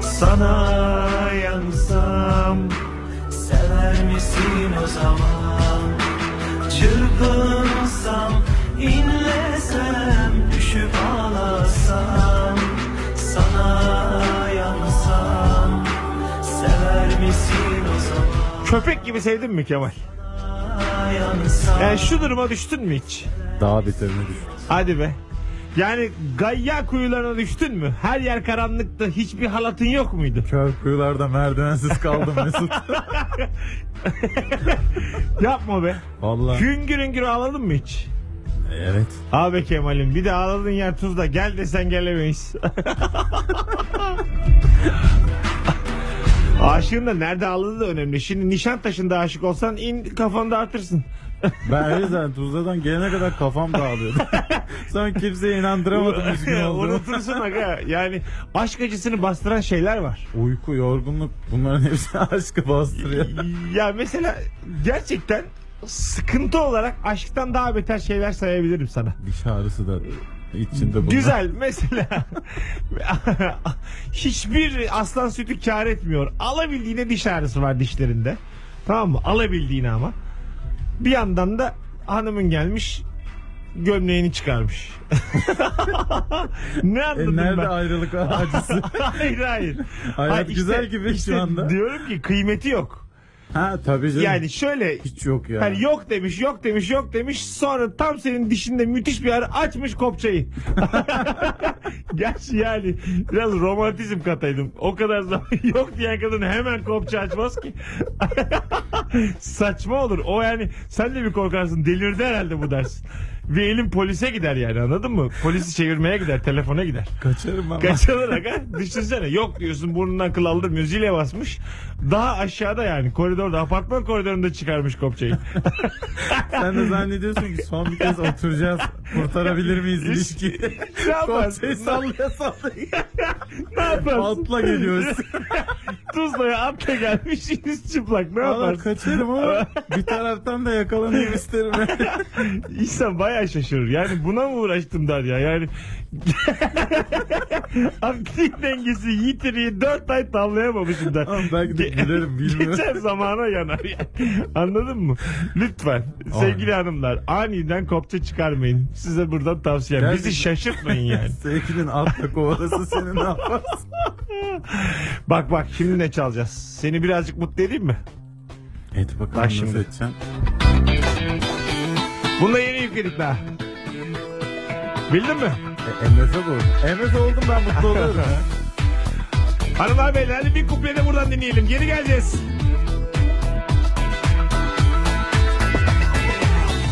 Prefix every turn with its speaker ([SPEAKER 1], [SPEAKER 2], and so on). [SPEAKER 1] Sana yansam Sever misin o zaman Çırpınsam inlesem Düşüp ağlasam Sana yansam Sever misin o zaman
[SPEAKER 2] Köpek gibi sevdin mi Kemal?
[SPEAKER 1] yansam
[SPEAKER 2] Yani şu duruma düştün mü hiç?
[SPEAKER 3] Daha beterini düşün.
[SPEAKER 2] Hadi be. Yani gayya kuyularına düştün mü? Her yer karanlıkta hiçbir halatın yok muydu?
[SPEAKER 3] Kör kuyularda merdivensiz kaldım Mesut.
[SPEAKER 2] Yapma be.
[SPEAKER 3] Vallahi.
[SPEAKER 2] Güngür güngür ağladın mı hiç?
[SPEAKER 3] Evet.
[SPEAKER 2] Abi Kemal'im bir de ağladın yer tuzla gel desen gelemeyiz. Aşığın da nerede ağladığı da önemli. Şimdi Nişantaşı'nda aşık olsan in kafanda artırsın.
[SPEAKER 3] Ben o yüzden Tuzla'dan gelene kadar kafam dağılıyordu. Sonra kimseye inandıramadım üzgün olduğumu.
[SPEAKER 2] Unutursun aga. Yani aşk acısını bastıran şeyler var.
[SPEAKER 3] Uyku, yorgunluk bunların hepsi aşkı bastırıyor.
[SPEAKER 2] ya mesela gerçekten sıkıntı olarak aşktan daha beter şeyler sayabilirim sana.
[SPEAKER 3] Diş ağrısı da içinde bunlar.
[SPEAKER 2] Güzel mesela. Hiçbir aslan sütü kar etmiyor. Alabildiğine diş ağrısı var dişlerinde. Tamam mı? Alabildiğine ama. Bir yandan da hanımın gelmiş gömleğini çıkarmış. ne
[SPEAKER 3] E,
[SPEAKER 2] anladım
[SPEAKER 3] nerede
[SPEAKER 2] ben?
[SPEAKER 3] ayrılık acısı?
[SPEAKER 2] hayır hayır.
[SPEAKER 3] Hayat
[SPEAKER 2] Hayır, işte-
[SPEAKER 3] güzel gibi
[SPEAKER 2] işte
[SPEAKER 3] şu anda.
[SPEAKER 2] Diyorum ki kıymeti yok.
[SPEAKER 3] Ha tabii canım.
[SPEAKER 2] Yani şöyle
[SPEAKER 3] hiç yok ya.
[SPEAKER 2] yani yok demiş, yok demiş, yok demiş. Sonra tam senin dişinde müthiş bir ağrı açmış kopçayı. Gerçi yani biraz romantizm kataydım. O kadar zaman yok diyen kadın hemen kopça açmaz ki. Saçma olur. O yani sen de bir korkarsın. Delirdi herhalde bu dersin. Ve elin polise gider yani anladın mı? Polisi çevirmeye gider, telefona gider.
[SPEAKER 3] Kaçarım ama.
[SPEAKER 2] Kaçılarak ha? Düşünsene yok diyorsun burnundan kıl aldırmıyor zile basmış. Daha aşağıda yani koridorda apartman koridorunda çıkarmış kopçayı.
[SPEAKER 3] Sen de zannediyorsun ki son bir kez oturacağız. Kurtarabilir miyiz ilişkiyi?
[SPEAKER 2] ne yaparsın?
[SPEAKER 3] Kopçayı sallaya sallaya.
[SPEAKER 2] ne yaparsın?
[SPEAKER 3] Altla geliyoruz.
[SPEAKER 2] Tuzla'ya atla gelmiş yüz çıplak ne
[SPEAKER 3] Valla
[SPEAKER 2] yaparsın?
[SPEAKER 3] kaçarım ama bir taraftan da yakalanayım isterim.
[SPEAKER 2] İnsan bayağı şaşırır. Yani buna mı uğraştım der ya yani. Aktif dengesi yitiriyi dört ay tavlayamamışım der.
[SPEAKER 3] Ama belki
[SPEAKER 2] Ge-
[SPEAKER 3] de gülerim Ah, bilmiyorum.
[SPEAKER 2] Geçer zamana yanar yani. Anladın mı? Lütfen sevgili hanımlar aniden kopça çıkarmayın. Size buradan tavsiyem.
[SPEAKER 3] Gerçekten.
[SPEAKER 2] Bizi şaşırtmayın yani.
[SPEAKER 3] Sevgilin atla kovalası seni ne yaparsın?
[SPEAKER 2] bak bak şimdi ne çalacağız? Seni birazcık mutlu edeyim mi?
[SPEAKER 3] Hadi bakalım
[SPEAKER 2] Bak
[SPEAKER 3] nasıl
[SPEAKER 2] şimdi.
[SPEAKER 3] edeceksin?
[SPEAKER 2] Bunu da yeni yükledik daha. Bildin mi?
[SPEAKER 3] E, MF oldum. MF oldum ben mutlu oluyorum.
[SPEAKER 2] Hanımlar beyler hadi bir kuple de buradan dinleyelim. Geri geleceğiz.